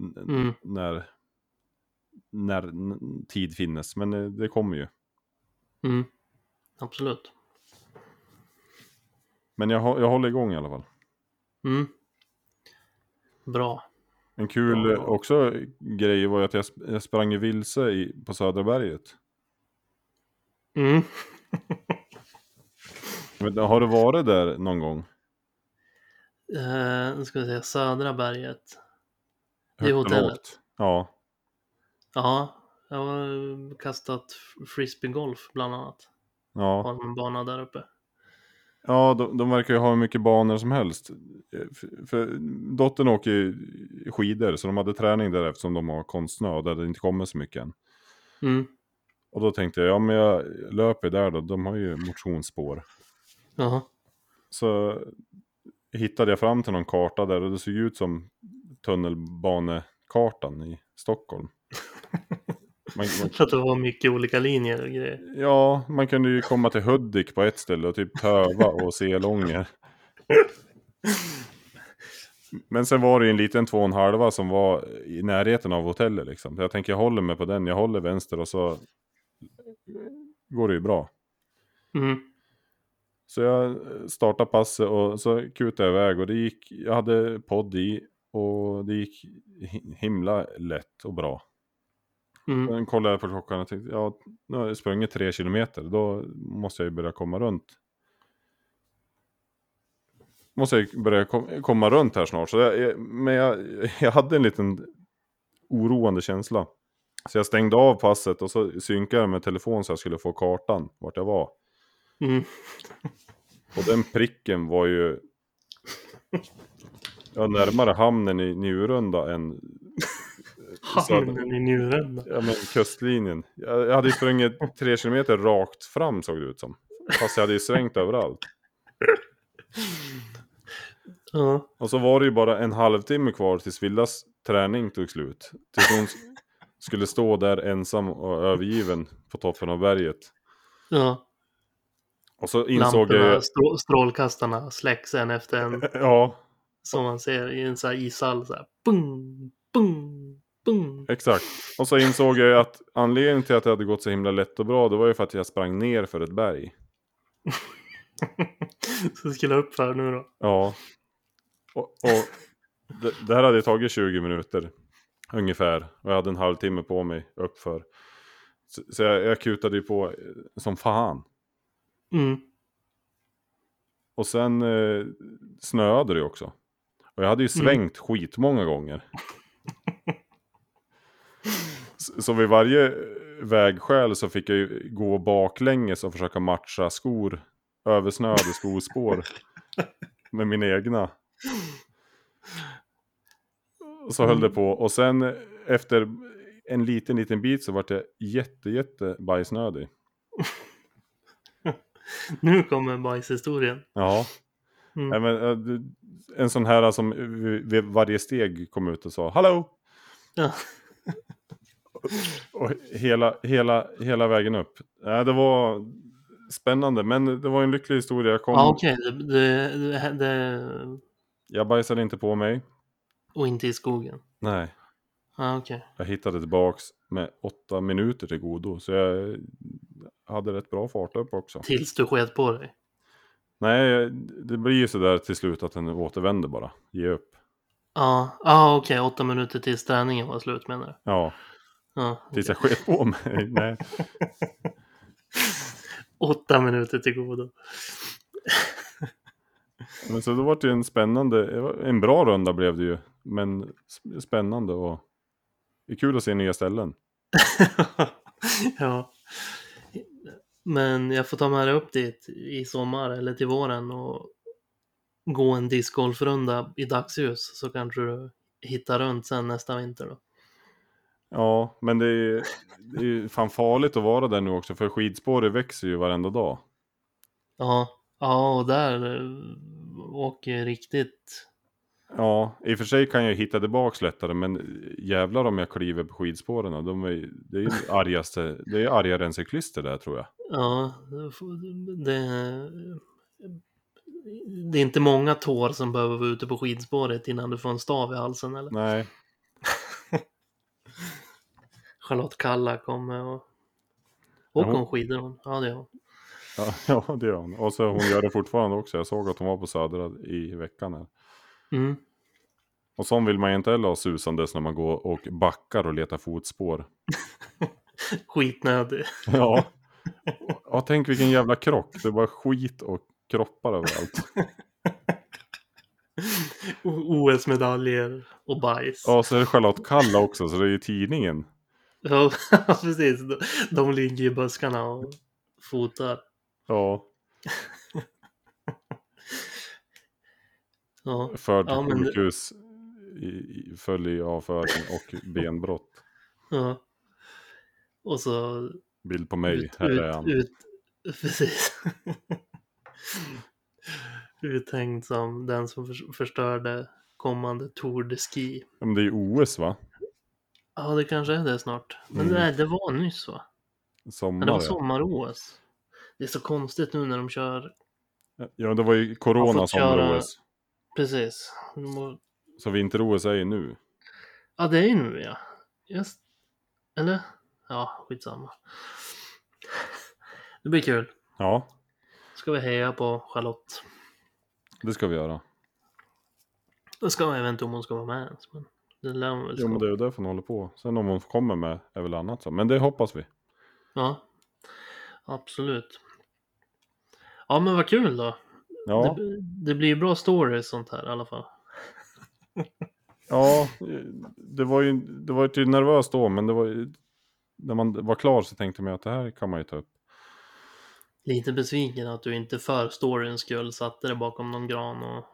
S2: n-
S1: Mm.
S2: När, när n- tid finnes, men eh, det kommer ju.
S1: Mm. Absolut.
S2: Men jag, hå- jag håller igång i alla fall.
S1: Mm. Bra.
S2: En kul
S1: Ja.
S2: eh, också grej var ju att jag, sp- jag sprang ju vilse i, på Södra berget.
S1: Mm.
S2: Men Har du varit där någon gång?
S1: Eh, nu ska vi se, Södra berget. Det är
S2: Högt och
S1: hotellet.
S2: lågt? Ja.
S1: Ja, jag har kastat frisbeegolf bland annat.
S2: ja.
S1: På en bana där uppe.
S2: Ja, de, de verkar ju ha hur mycket banor som helst. Eh, För, för dottern åker ju skidor, så de hade träning där eftersom de har konstsnö och där det inte kommer så mycket än.
S1: Mm.
S2: Och då tänkte jag, ja men jag löper där då, de har ju motionsspår.
S1: Jaha.
S2: Så hittade jag fram till någon karta där och det såg ut som tunnelbanekartan i Stockholm. Man, man,
S1: För att det var mycket olika linjer och grejer.
S2: ja, man kunde ju komma till Hudik på ett ställe och typ Töva och Selånger. Men sen var det ju en liten två och en halva som var i närheten av hotellet liksom. Så Jag tänker jag håller mig på den, jag håller vänster och så går det ju bra.
S1: Mm.
S2: Så jag startade passet och så kutade jag iväg och det gick, jag hade podd i och det gick hi- himla lätt och bra.
S1: Mm.
S2: Sen kollade jag på klockan och tänkte, ja, nu har jag sprungit tre kilometer, då måste jag ju börja komma runt. Måste jag ju börja kom, komma runt här snart. Så jag, jag- men jag, jag hade en liten oroande känsla. Så jag stängde av passet och så synkade jag med telefon så jag skulle få kartan vart jag var.
S1: Mm.
S2: Och den pricken var ju ja, närmare hamnen i Njurunda än
S1: Hamnen i Njurunda.
S2: ja, men, kustlinjen. Jag, jag hade ju sprungit tre kilometer rakt fram såg det ut som. Fast jag hade ju svängt överallt.
S1: Ja.
S2: Och så var det ju bara en halvtimme kvar tills Villas träning tog slut. Tills hon skulle stå där ensam och övergiven på toppen av berget.
S1: ja.
S2: Och så insåg
S1: Lamporna,
S2: jag...
S1: strå- strålkastarna släcks en efter en.
S2: Ja,
S1: Som man ser i en sån här ishall. Så här, bung, bung, bung.
S2: Exakt. Och så insåg jag ju att anledningen till att det hade gått så himla lätt och bra, det var ju för att jag sprang ner för ett berg.
S1: Så skulle jag upp för nu då.
S2: Ja. Och, och det, det här hade tagit 20 minuter ungefär. Och jag hade en halvtimme på mig uppför. Så, så jag, jag kutade ju på eh, som fan.
S1: Mm.
S2: Och sen eh, snöade det ju också. Och jag hade ju svängt skitmånga gånger. S- så vid varje eh, vägskäl så fick jag ju gå baklänges och försöka matcha skor, översnöade skospår med mina egna. Och Så höll det på. Och sen eh, efter en liten, liten bit så vart jag jätte, jätte bajsnödig.
S1: Nu kommer bajshistorien.
S2: Ja.
S1: Mm.
S2: Nej, men, eh, du- en sån här eh, som vid- vid varje steg kom ut och sa hallå.
S1: Ja.
S2: Och hela, hela, hela vägen upp. Nej, det var spännande, men det var en lycklig historia. Jag, kom,
S1: Ja, okej. Det, det, det, det...
S2: jag bajsade inte på mig.
S1: Och inte i skogen.
S2: Nej,
S1: Ja, okej.
S2: jag hittade tillbaks med åtta minuter till godo. Så jag hade rätt bra fart upp också.
S1: Tills du sket på dig.
S2: Nej, det blir ju sådär till slut att den återvänder bara. Ge upp.
S1: Ja, ja okej. Åtta minuter tills träningen var slut menar du?
S2: Ja,
S1: Ja.
S2: tills jag sket på mig. Nej.
S1: Åtta minuter till godo.
S2: Men så då var det ju en spännande, en bra runda blev det ju. Men sp- spännande och det är kul att se nya ställen.
S1: ja. Men jag får ta med dig upp dit i sommar eller till våren och gå en discgolfrunda i dagsljus så kanske du hittar runt sen nästa vinter då.
S2: Ja, men det är, det är ju fan farligt att vara där nu också för skidspåret växer ju varenda dag.
S1: Ja, ja och där eh, åker jag riktigt.
S2: Ja, i och för sig kan jag hitta tillbaks lättare men jävlar om jag kliver på skidspåren. De är, det är ju argaste, det är argare än cyklister där tror jag.
S1: Ja, det, det är inte många tår som behöver vara ute på skidspåret innan du får en stav i halsen eller?
S2: Nej,
S1: Charlotte Kalla kommer och åker
S2: Ja.
S1: hon skidor hon? Ja, det gör hon.
S2: ja, ja det gör hon. Och så hon gör det fortfarande också. Jag såg att hon var på Södra i veckan här.
S1: Mm.
S2: Och sån vill man ju inte heller ha susandes när man går och backar och letar fotspår.
S1: skitnödig.
S2: Ja. ja, tänk vilken jävla krock. Det var skit och kroppar överallt.
S1: O- OS-medaljer och bajs.
S2: Ja, så är det Charlotte Kalla också, så det är ju tidningen.
S1: Ja, precis. De- De ligger i buskarna och fotar.
S2: Ja,
S1: Ja,
S2: förd till
S1: Ja, men det-
S2: sjukhus, i, i, föll i avföring och benbrott.
S1: ja. Och så
S2: Bild på mig,
S1: ut,
S2: här är han.
S1: ut, ut, precis. Uthängd som den som förs- förstörde kommande Tour de Ski.
S2: Ja, Men det är ju OS va?
S1: Ja, det kanske är det snart. Men
S2: Mm.
S1: nej, det var nyss va? Ja,
S2: Sommar
S1: det var
S2: ja.
S1: sommar-OS. Det är så konstigt nu när de kör
S2: Ja, det var ju
S1: Man
S2: corona
S1: får
S2: sommar-OS.
S1: Precis. De må-
S2: Så vinter-OS är ju nu.
S1: Ja, det är ju nu ja. Just. Eller? Ja, skitsamma. Det blir kul.
S2: Ja,
S1: Ska vi heja på Charlotte.
S2: det ska vi göra.
S1: Då ska man, jag vet inte om hon ska vara med ens. Men det lär hon väl
S2: Jo, men
S1: ska.
S2: det är ju därför hon håller på. Sen om hon kommer med är väl annat så. Men det hoppas vi.
S1: Ja. Absolut. Ja, men vad kul då.
S2: Ja,
S1: Det, det blir ju bra stories sånt här i alla fall.
S2: ja det var ju, det var ju nervöst då, men det var ju, när man var klar så tänkte man ju att det här kan man ju ta upp.
S1: Lite besviken att du inte för storyns skull satte dig bakom någon gran och...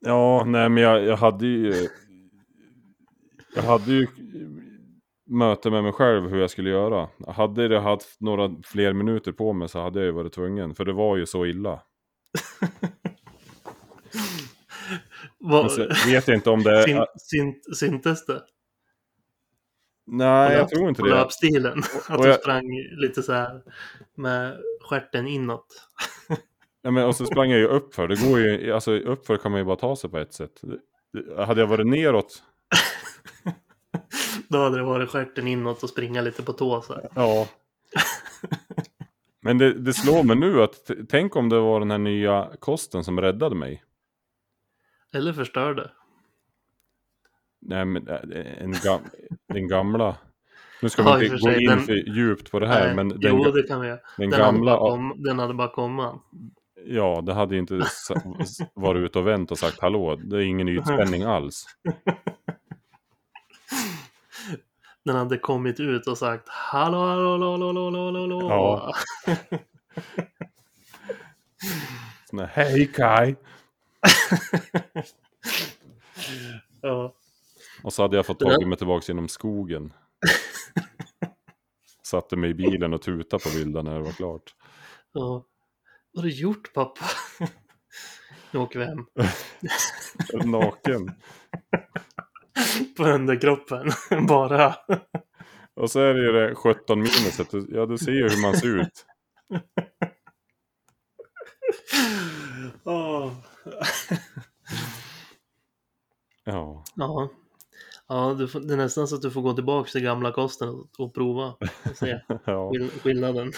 S2: Ja, nej men jag, jag hade ju... Jag hade ju möte med mig själv hur jag skulle göra. Hade jag haft några fler minuter på mig så hade jag ju varit tvungen. För det var ju så illa. Men
S1: Vad...
S2: så vet jag inte om det...
S1: Syn, syn, syntes det?
S2: nej,
S1: Kolla-
S2: jag tror inte
S1: På
S2: det.
S1: löpstilen? Att
S2: och
S1: du
S2: jag-
S1: sprang lite så här med stjärten inåt?
S2: Nej, men, och så sprang jag ju uppför. Det går ju... Alltså uppför kan man ju bara ta sig på ett sätt. Det- Hade jag varit neråt...
S1: Då hade det varit stjärten inåt och springa lite på tå så här.
S2: Ja. Men det, det slår mig nu att t- tänk om det var den här nya kosten som räddade mig.
S1: Eller förstörde.
S2: Nej men äh, en gam den gamla. Nu ska
S1: Ja,
S2: vi
S1: i och
S2: inte
S1: för
S2: gå
S1: sig,
S2: in
S1: den-
S2: för djupt på det här men den,
S1: Nej, jo,
S2: ga-
S1: det kan vi göra.
S2: den
S1: Den, hade
S2: gamla,
S1: bara kom, den hade bara kommit.
S2: ja det hade ju inte s- s- varit ute och vänt och sagt hallå, det är ingen ytspänning alls.
S1: Den hade kommit ut och sagt hallå, hallå, hallå, hallå, hallå, hallå, hallå.
S2: Ja. Sån här, Hej Kai!
S1: ja.
S2: Och så hade jag fått
S1: Det där-
S2: tagit mig tillbaka genom skogen. Satte mig i bilen och tuta på Vilda när det var klart.
S1: Ja. Vad har du gjort pappa? Nu åker vi hem.
S2: Naken.
S1: På underkroppen. Bara.
S2: Och så är det ju det 17 minuset, ja du ser ju hur man ser ut.
S1: Åh.
S2: Ja.
S1: Ja. Ja, du får, det är nästan så att du får gå tillbaka till gamla kosten och, och prova. Och se
S2: ja.
S1: skill- skillnaden.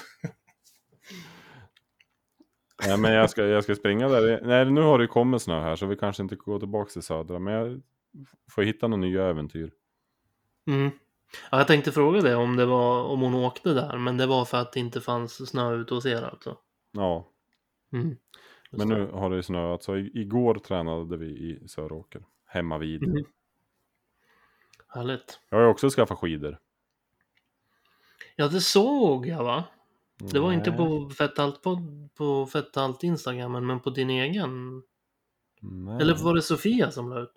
S2: Nej men jag ska, jag ska springa där. Nej nu har det ju kommit snö här så vi kanske inte går tillbaka till södra. Men jag får hitta några nya äventyr.
S1: Mm. Ja, jag tänkte fråga dig om det var om hon åkte där, men det var för att det inte fanns snö ute hos er alltså.
S2: Ja,
S1: Mm.
S2: men nu har det ju snöat så i- igår tränade vi i Söråker. Hemma vid.
S1: Mm. Härligt.
S2: Jag har ju också skaffat skidor.
S1: Ja, det såg jag va? Det var inte
S2: Nej.
S1: på Fetthalt på, på Fetthalt Instagram, men på din egen.
S2: Nej.
S1: Eller var det Sofia som la ut?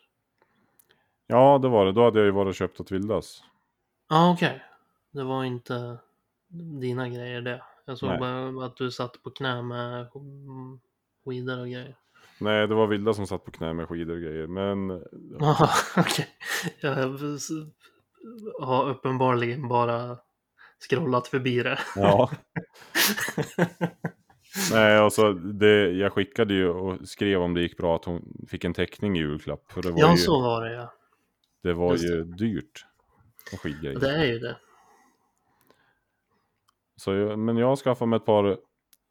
S2: Ja det var det, då hade jag ju varit och köpt åt Vildas.
S1: Ja, okej. Det var inte dina grejer det. Jag såg
S2: Nej.
S1: bara att du satt på knä med sk- skidor och grejer.
S2: Nej det var Vilda som satt på knä med skidor och grejer. Men
S1: Ja, okej. Jag s- har uppenbarligen bara scrollat förbi det.
S2: Ja. Nej, alltså det, jag skickade ju och skrev om det gick bra att hon fick en teckning i julklapp. För det var
S1: Ja,
S2: ju,
S1: så var det ja.
S2: det var
S1: just
S2: ju dyrt. med skidgrejer.
S1: Det är ju det.
S2: Så jag, men jag har skaffat mig ett par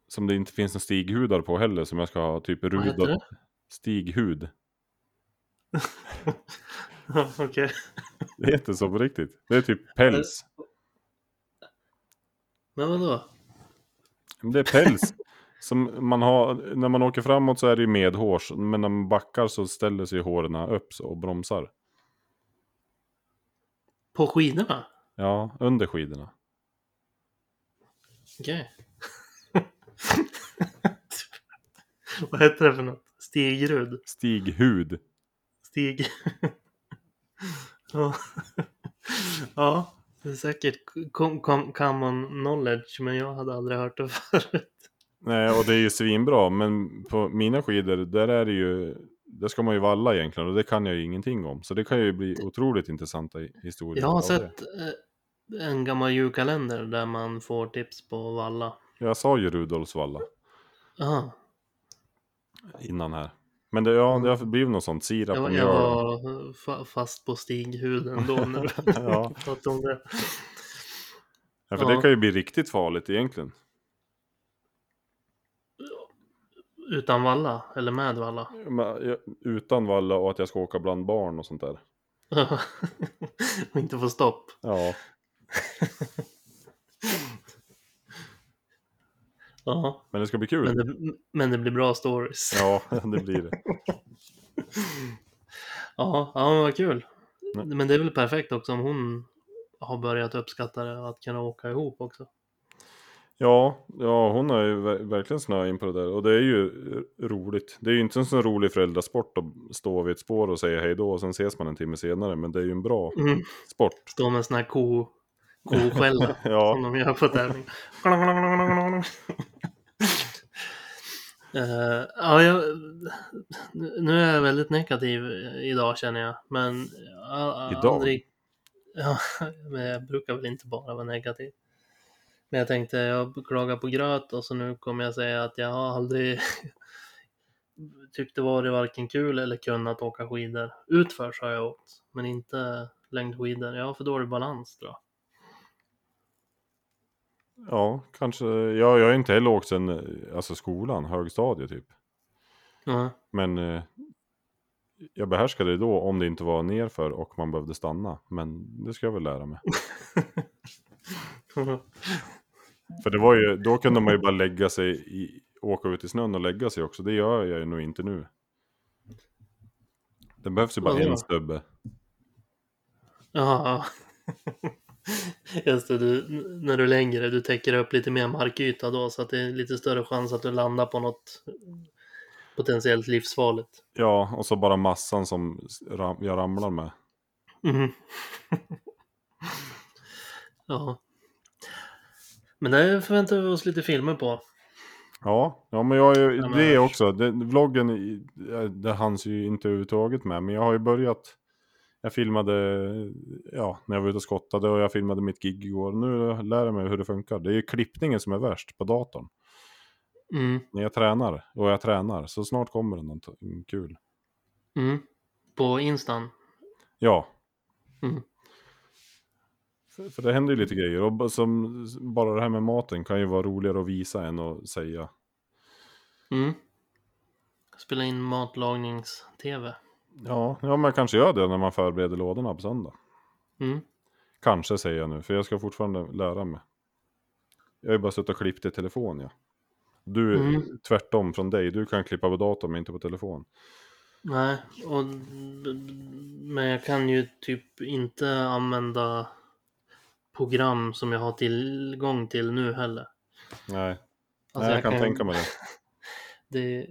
S2: som det inte finns några stighudar på heller. Som jag ska ha typ
S1: Vad heter
S2: rudad
S1: det?
S2: stighud.
S1: Ja, okej.
S2: Det heter så på riktigt. Det är typ päls.
S1: Men vadå?
S2: Men Det är päls. Som man har, när man åker framåt så är det ju medhårs. Men när man backar så ställer sig håren upp så- och bromsar.
S1: På skidorna?
S2: Ja, under skidorna.
S1: Okej. Vad heter det för något? Stigrud?
S2: Stighud.
S1: Stig. ja. ja, det är säkert com- com- common knowledge, men jag hade aldrig hört det förut.
S2: Nej, och det är ju svinbra, men på mina skidor, där är det ju, där ska man ju valla egentligen och det kan jag ju ingenting om. Så det kan ju bli otroligt intressanta i- historier.
S1: Jag har
S2: av
S1: sett eh, en gammal julkalender där man får tips på valla.
S2: Det. Jag sa ju Rudolfsvalla
S1: Aha.
S2: innan här. Men det, ja, det har blivit något sånt, sirap och
S1: Jag,
S2: mjöl.
S1: jag var fa- fast på stighuden då när du
S2: Ja.
S1: pratade om det.
S2: Ja, för det
S1: ja.
S2: kan ju bli riktigt farligt egentligen.
S1: Utan valla, eller med valla.
S2: Men, jag- Utan valla och att jag ska åka bland barn och sånt där.
S1: Och inte få stopp.
S2: Ja.
S1: Ja,
S2: Men det ska bli kul.
S1: men det, men det blir bra stories.
S2: Ja, det blir det.
S1: Ja, ja men vad kul.
S2: Nej.
S1: Men det är väl perfekt också om hon har börjat uppskatta det, att kunna åka ihop också.
S2: Ja, ja hon har ju ver- verkligen snöat in på det där. Och det är ju eh, roligt. Det är ju inte en sån rolig föräldrasport att stå vid ett spår och säga hej då och sen ses man en timme senare. Men det är ju en bra
S1: Mm.
S2: sport.
S1: Stå med en sån här ko, koskälla som
S2: Ja,
S1: de gör på tävling. Eh, ja, jag, nu är jag väldigt negativ idag känner jag. Men jag,
S2: Idag?
S1: ja, men jag brukar väl inte bara vara negativ. Men jag tänkte, jag klagar på gröt och så nu kommer jag säga att jag har aldrig tyckt det varit varken kul eller kunnat åka skidor. Utför så har jag åkt, men inte längdskidor. Jag har för dålig balans tror jag.
S2: ja kanske. Ja, jag har inte heller åkt sen eh, alltså skolan, högstadiet typ.
S1: Ja.
S2: Men eh, jag behärskade det då om det inte var nerför och man behövde stanna. Men det ska jag väl lära mig.
S1: Mm.
S2: För det var ju, då kunde man ju bara lägga sig, i, åka ut i snön och lägga sig också. Det gör jag ju nog inte nu. Det behövs ju bara
S1: Vadå?
S2: en stubbe.
S1: Ja. Just det, du, n- när du är längre, du täcker upp lite mer markyta då så att det är lite större chans att du landar på något potentiellt livsfarligt.
S2: Ja, och så bara massan som s- ram, jag ramlar med.
S1: Mhm. ja. Men det förväntar vi oss lite filmer på.
S2: Ja, ja men jag är ju,
S1: Ja, men-
S2: det också. Det, vloggen, i- eh, det hanns ju inte överhuvudtaget med. Men jag har ju börjat. Jag filmade, ja, när jag var ute och skottade och jag filmade mitt gig igår. Nu lär jag mig hur det funkar. Det är ju klippningen som är värst på datorn.
S1: Mm.
S2: När jag tränar, och jag tränar, så snart kommer det någonting kul.
S1: Mm. På Instan.
S2: Ja.
S1: Mm.
S2: För, för det händer ju lite grejer. Och b- som, bara det här med maten kan ju vara roligare att visa än att säga.
S1: Mm. Spela in matlagnings-tv.
S2: Ja, ja man kanske gör det när man förbereder lådorna på söndag.
S1: Mm.
S2: Kanske säger jag nu, för jag ska fortfarande lära mig. Jag har ju bara suttit och klippt i telefon, ja. Du,
S1: Mm.
S2: tvärtom från dig, du kan klippa på datorn men inte på telefon.
S1: Nej, och, men jag kan ju typ inte använda program som jag har tillgång till nu heller.
S2: Nej,
S1: Alltså,
S2: Nej jag, kan,
S1: ju-
S2: tänka mig det.
S1: Det,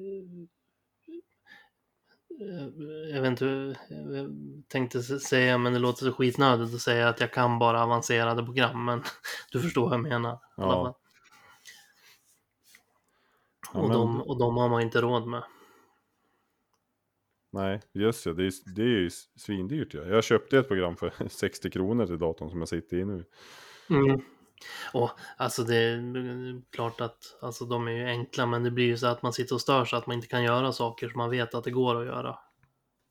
S1: jag vet inte, hur- jag tänkte s- säga, men det låter så skitnödigt att säga att jag kan bara avancerade program, men du förstår vad jag menar. i alla
S2: Ja.
S1: fall.
S2: Ja,
S1: och,
S2: men-
S1: de, och de har man inte råd med.
S2: Nej, just det. Det är, det är ju svindyrt. Ja. Jag köpte ett program för 60 kronor till datorn som jag sitter i nu.
S1: Mm. Och alltså det är mm, klart att alltså, de är ju enkla men det blir ju så att man sitter och stör sig att man inte kan göra saker som man vet att det går att göra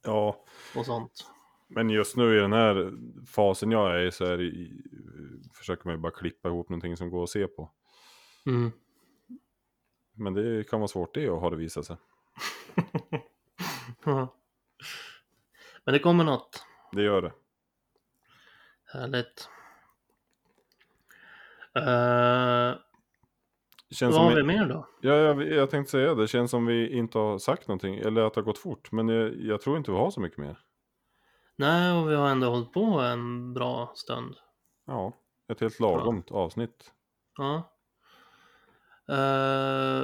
S2: Ja,
S1: och sånt.
S2: men just nu i den här fasen jag är i så är det, i- försöker man ju bara klippa ihop någonting som går att se på.
S1: Mm.
S2: Men det kan vara svårt det har det visat sig.
S1: men det kommer något
S2: Det gör det.
S1: härligt. Eh,
S2: Känns
S1: vad har
S2: som
S1: vi
S2: vi,
S1: mer då?
S2: ja, jag, jag tänkte säga det, känns som vi inte har sagt någonting, eller att det har gått fort. Men jag, jag tror inte vi har så mycket mer.
S1: Nej, och vi har ändå hållit på en bra stund.
S2: Ja, ett helt lagomt avsnitt.
S1: Ja. Eh,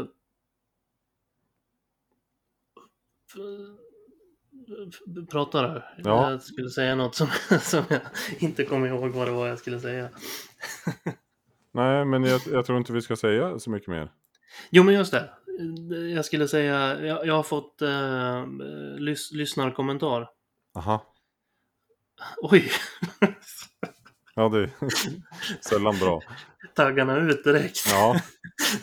S1: f- f- Prata du.
S2: Ja.
S1: Jag skulle säga något som, som jag inte kommer ihåg vad det var jag skulle säga.
S2: Nej, men jag, jag tror inte vi ska säga så mycket mer.
S1: Jo, men just det. Jag skulle säga, jag, jag har fått eh, lys, lyssnarkommentar.
S2: Aha.
S1: Oj!
S2: Ja, det är sällan bra.
S1: taggarna ut direkt.
S2: Ja,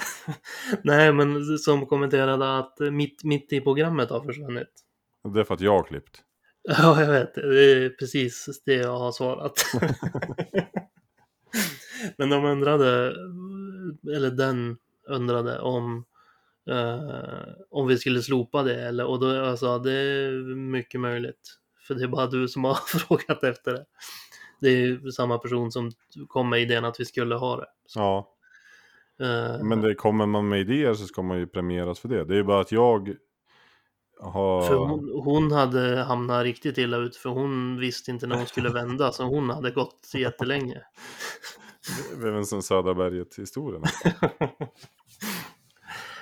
S1: Nej, men som kommenterade att mitt, mitt i programmet har försvunnit.
S2: det är för att jag har klippt.
S1: Ja, jag vet. Det är precis det jag har svarat. Men de undrade, eller den undrade om, eh, om vi skulle slopa det. Eller, och då jag sa det är mycket möjligt. För det är bara du som har frågat efter det. Det är ju samma person som kom med idén att vi skulle ha det.
S2: Ja,
S1: Eh,
S2: men det kommer man med idéer så ska man ju premieras för det. Det är ju bara att jag har...
S1: För hon, hon hade hamnat riktigt illa ut för hon visste inte när hon skulle vända så hon hade gått jättelänge.
S2: Det är väl en sån Södra berget-historien.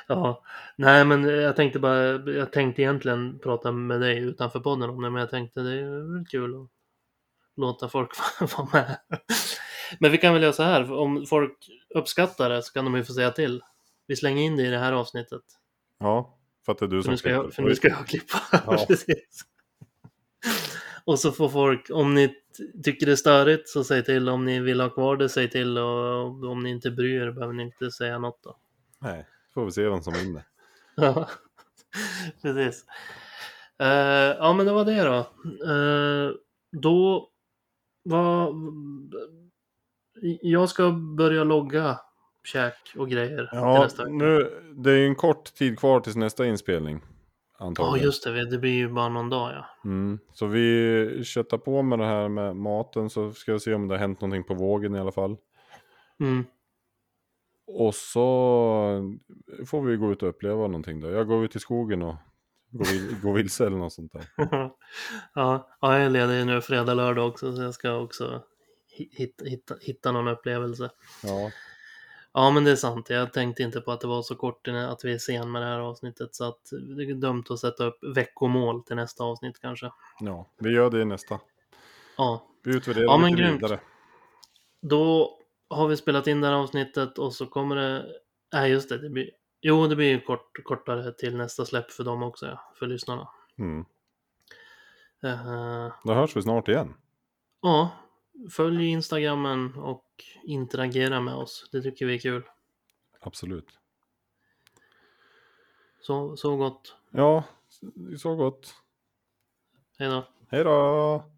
S1: Ja, nej men jag tänkte bara, jag tänkte egentligen prata med dig utanför podden om det men jag tänkte det är väl kul att låta folk vara med. Men vi kan väl göra så här, om folk uppskattar det så kan de ju få säga till. Vi slänger in det i det här avsnittet.
S2: Ja, för att det är
S1: För
S2: du som
S1: nu ska jag,
S2: klipper.
S1: för nu ska jag klippa.
S2: Ja.
S1: Precis. Och så får folk, om ni t- tycker det är störigt så säg till. Om ni vill ha kvar det, säg till. Och om ni inte bryr er behöver ni inte säga något då.
S2: Nej, får vi se vem som vinner.
S1: Ja, precis. Eh, ja, men det var det då. Eh, då var... Jag ska börja logga käk och grejer till
S2: Ja,
S1: nästa vecka.
S2: nu, det är ju en kort tid kvar tills nästa inspelning.
S1: Ja,
S2: Antagligen.
S1: just det. Det blir ju bara någon dag, ja.
S2: Mm. Så vi köttar på med det här med maten så ska jag se om det har hänt någonting på vågen i alla fall.
S1: Mm.
S2: Och så får vi gå ut och uppleva någonting då. Jag går ut i skogen och går, vil- går vilse eller något sånt där.
S1: ja, ja, jag är ledig nu fredag, lördag också, så jag ska också hi- hitta, hitta, hitta någon upplevelse.
S2: Ja,
S1: Ja, men det är sant. Jag tänkte inte på att det var så kort innan- att vi är sen med det här avsnittet, så att det är dömt att sätta upp veckomål till nästa avsnitt kanske.
S2: ja. vi gör det i nästa.
S1: Ja,
S2: Vi utvärderar
S1: Ja, men
S2: lite
S1: grymt.
S2: vidare.
S1: då har vi spelat in det här avsnittet och så kommer det... Nej, just det. det blir... Jo, det blir ju kort, kortare till nästa släpp för dem också, ja, för lyssnarna.
S2: Mm.
S1: Eh,
S2: Då hörs vi snart igen.
S1: ja, följ Instagrammen och interagera med oss. Det tycker vi är kul.
S2: Absolut.
S1: Så, så gott.
S2: Ja, så gott.
S1: Hej då.
S2: Hej då!